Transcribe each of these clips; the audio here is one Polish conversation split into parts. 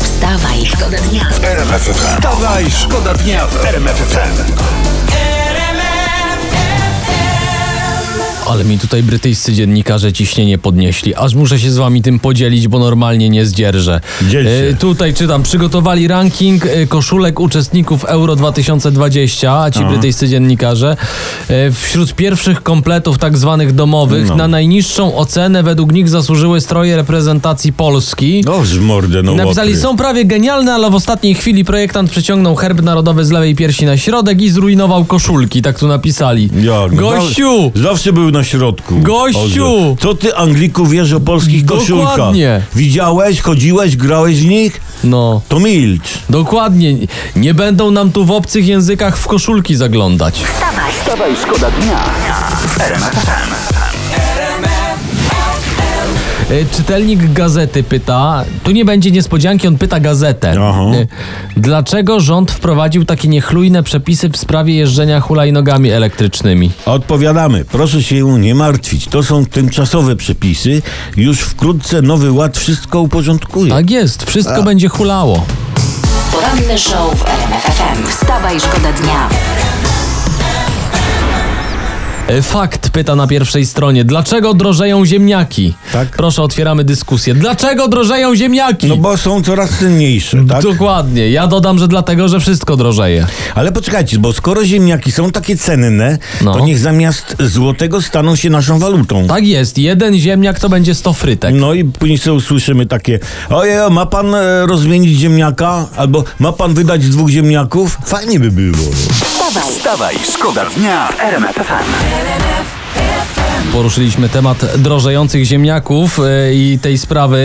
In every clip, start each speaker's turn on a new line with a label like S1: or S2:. S1: Wstawaj, szkoda dnia.
S2: Wstawaj, szkoda dnia w RMF FM.
S3: Ale mi tutaj brytyjscy dziennikarze ciśnienie podnieśli. Aż muszę się z wami tym podzielić, bo normalnie nie zdzierżę.
S4: Dziel się.
S3: E, tutaj czytam, przygotowali ranking e, koszulek uczestników Euro 2020,
S4: No.
S3: ci brytyjscy dziennikarze. E, wśród pierwszych kompletów tak zwanych domowych
S4: No.
S3: na najniższą ocenę według nich zasłużyły stroje reprezentacji Polski.
S4: No z mordę, no
S3: Napisali,
S4: łopy.
S3: są prawie genialne, ale w ostatniej chwili projektant przyciągnął herb narodowy z lewej piersi na środek i zrujnował koszulki, tak tu napisali.
S4: Jak, no,
S3: Gościu!
S4: zaw- Zawsze był na środku.
S3: Gościu!
S4: Oże. Co ty, Angliku, wiesz o polskich koszulkach?
S3: Dokładnie.
S4: Widziałeś, chodziłeś, grałeś w nich?
S3: No,
S4: To milcz.
S3: dokładnie. Nie będą nam tu w obcych językach w koszulki zaglądać.
S1: Wstawaj,
S2: Wstawaj, szkoda dnia w RMF FM.
S3: E, Czytelnik gazety pyta, tu nie będzie niespodzianki, on pyta gazetę.
S4: Aha.
S3: E, Dlaczego rząd wprowadził takie niechlujne przepisy w sprawie jeżdżenia hulajnogami elektrycznymi?
S4: A Odpowiadamy, proszę się nie martwić. To są tymczasowe przepisy. Już wkrótce nowy ład wszystko uporządkuje.
S3: Tak jest, wszystko będzie hulało.
S1: poranny show w RMF FM. Wstawaj, szkoda dnia.
S3: E, Fakt pyta na pierwszej stronie, dlaczego drożeją ziemniaki?
S4: Tak.
S3: Proszę, otwieramy dyskusję. Dlaczego drożeją ziemniaki?
S4: No bo są coraz cenniejsze, tak?
S3: Dokładnie, ja dodam, że dlatego, że wszystko drożeje.
S4: Ale poczekajcie, bo skoro ziemniaki są takie cenne,
S3: No.
S4: to niech zamiast złotego staną się naszą walutą.
S3: Tak jest, jeden ziemniak to będzie 100 frytek.
S4: No i później sobie usłyszymy takie Ojej, ma pan e, rozmienić ziemniaka? Albo ma pan wydać dwóch ziemniaków? Fajnie by było. no.
S1: Wstawaj,
S2: Wstawaj, szkoda dnia w RMF FM.
S3: Poruszyliśmy temat drożejących ziemniaków y, i tej sprawy,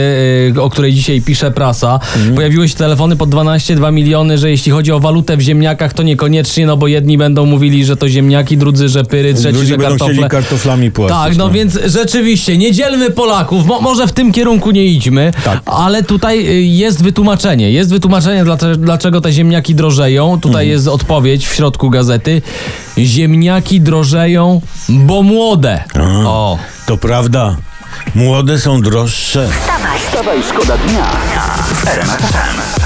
S3: y, o której dzisiaj pisze prasa.
S4: Mhm.
S3: Pojawiły się telefony po 12-2 miliony, że jeśli chodzi o walutę w ziemniakach, to niekoniecznie, no bo jedni będą mówili, że to ziemniaki, drudzy, że pyry, trzeci,
S4: Ludzie
S3: że
S4: będą
S3: kartofle.
S4: chcieli kartoflami płacić.
S3: Tak, no więc rzeczywiście, nie dzielmy Polaków, mo może w tym kierunku nie idźmy,
S4: Tak.
S3: ale tutaj y, jest wytłumaczenie, jest wytłumaczenie dlacze- dlaczego te ziemniaki drożeją,
S4: Mhm.
S3: tutaj jest odpowiedź w środku gazety, ziemniaki drożeją, bo młode. O.
S4: To prawda. Młode są droższe.
S1: wstawaj,
S2: Wstawaj, szkoda dnia w RMF FM.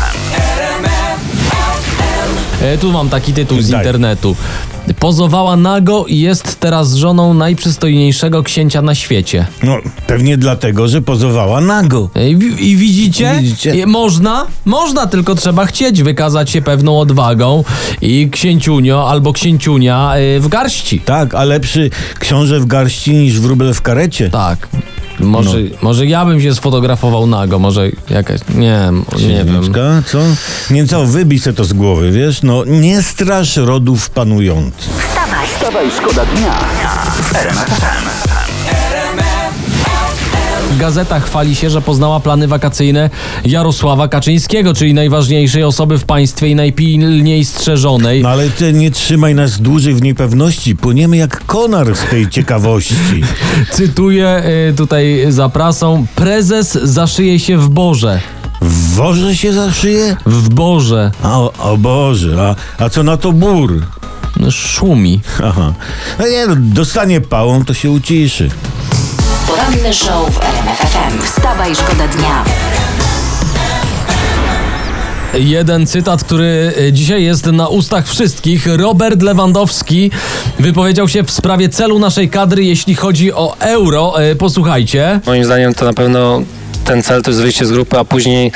S3: E, tu mam taki tytuł z
S4: Daj.
S3: internetu. Pozowała nago i jest teraz żoną najprzystojniejszego księcia na świecie.
S4: No, pewnie dlatego, że pozowała nago.
S3: I, wi- i widzicie?
S4: Widzicie?
S3: I można, można, tylko trzeba chcieć wykazać się pewną odwagą i księciunio albo księciunia y, w garści.
S4: Tak, a lepszy książę w garści niż wróbel w karecie.
S3: Tak. Może,
S4: No.
S3: może ja bym się sfotografował nago, może jakaś, nie, nie wiem.
S4: Księżniczka, co? Nie co, wybij se to z głowy, wiesz? No, nie strasz rodów panujących.
S1: wstawaj,
S2: Wstawaj, szkoda dnia w RMF FM.
S3: Gazeta chwali się, że poznała plany wakacyjne Jarosława Kaczyńskiego, czyli najważniejszej osoby w państwie i najpilniej strzeżonej.
S4: No ale ty nie trzymaj nas dłużej w niepewności. Płyniemy jak konar z tej ciekawości.
S3: Cytuję y, tutaj za prasą, prezes zaszyje się w Boże.
S4: W worze się zaszyje?
S3: W Boże.
S4: A, o, o Boże, a, a co na to bór?
S3: No, Szumi.
S4: Aha. No nie, no, dostanie pałą, to się uciszy.
S1: poranny show w RMF FM. Wstawaj, szkoda dnia.
S3: Jeden cytat, który e, dzisiaj jest na ustach wszystkich. Robert Lewandowski wypowiedział się w sprawie celu naszej kadry, jeśli chodzi o euro. E, Posłuchajcie.
S5: Moim zdaniem to na pewno ten cel to jest wyjście z grupy, a później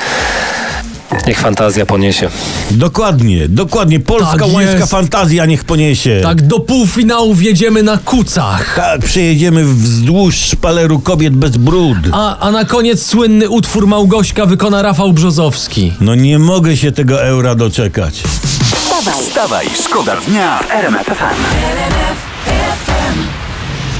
S5: niech fantazja poniesie.
S4: Dokładnie, dokładnie. Polska
S3: Tak
S4: łańska
S3: jest.
S4: fantazja niech poniesie.
S3: Tak, do półfinału wjedziemy na kucach.
S4: Tak, przejedziemy wzdłuż szpaleru kobiet bez brud.
S3: A, a na koniec słynny utwór Małgośka wykona Rafał Brzozowski.
S4: No nie mogę się tego eura doczekać.
S1: Wstawaj,
S2: Wstawaj, szkoda dnia w RMF FM.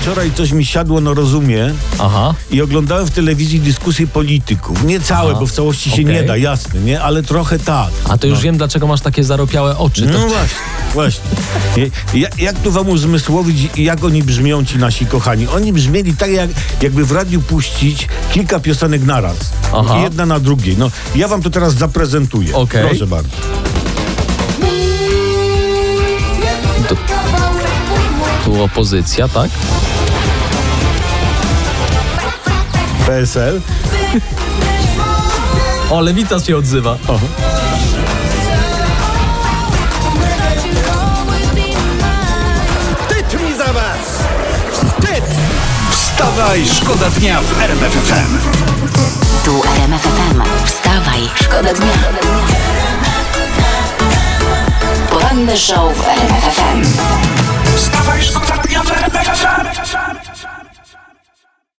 S4: Wczoraj coś mi siadło, no rozumie.
S3: Aha.
S4: I oglądałem w telewizji dyskusje polityków. Nie całe, bo w całości się
S3: okej.
S4: nie da, jasne, nie? Ale trochę tak.
S3: A to już wiem, dlaczego masz takie zaropiałe oczy. To...
S4: No właśnie, właśnie. Je- Ja, jak tu wam uzmysłowić, jak oni brzmią ci nasi kochani? Oni brzmieli tak, jak, jakby w radiu puścić kilka piosenek naraz.
S3: Aha.
S4: Jedna na drugiej. No, ja wam to teraz zaprezentuję.
S3: Okej.
S4: Proszę bardzo.
S3: Tu opozycja, tak?
S4: PSL.
S3: O, lewica się odzywa.
S6: that you'll always be mine.
S2: Wstyd mi za was! Wstyd! Wstawaj, szkoda dnia w RMF FM.
S1: Tu RMF FM. Wstawaj, szkoda dnia. Poranny show w RMF FM.
S2: Wstawaj, szkoda dnia w RMF FM.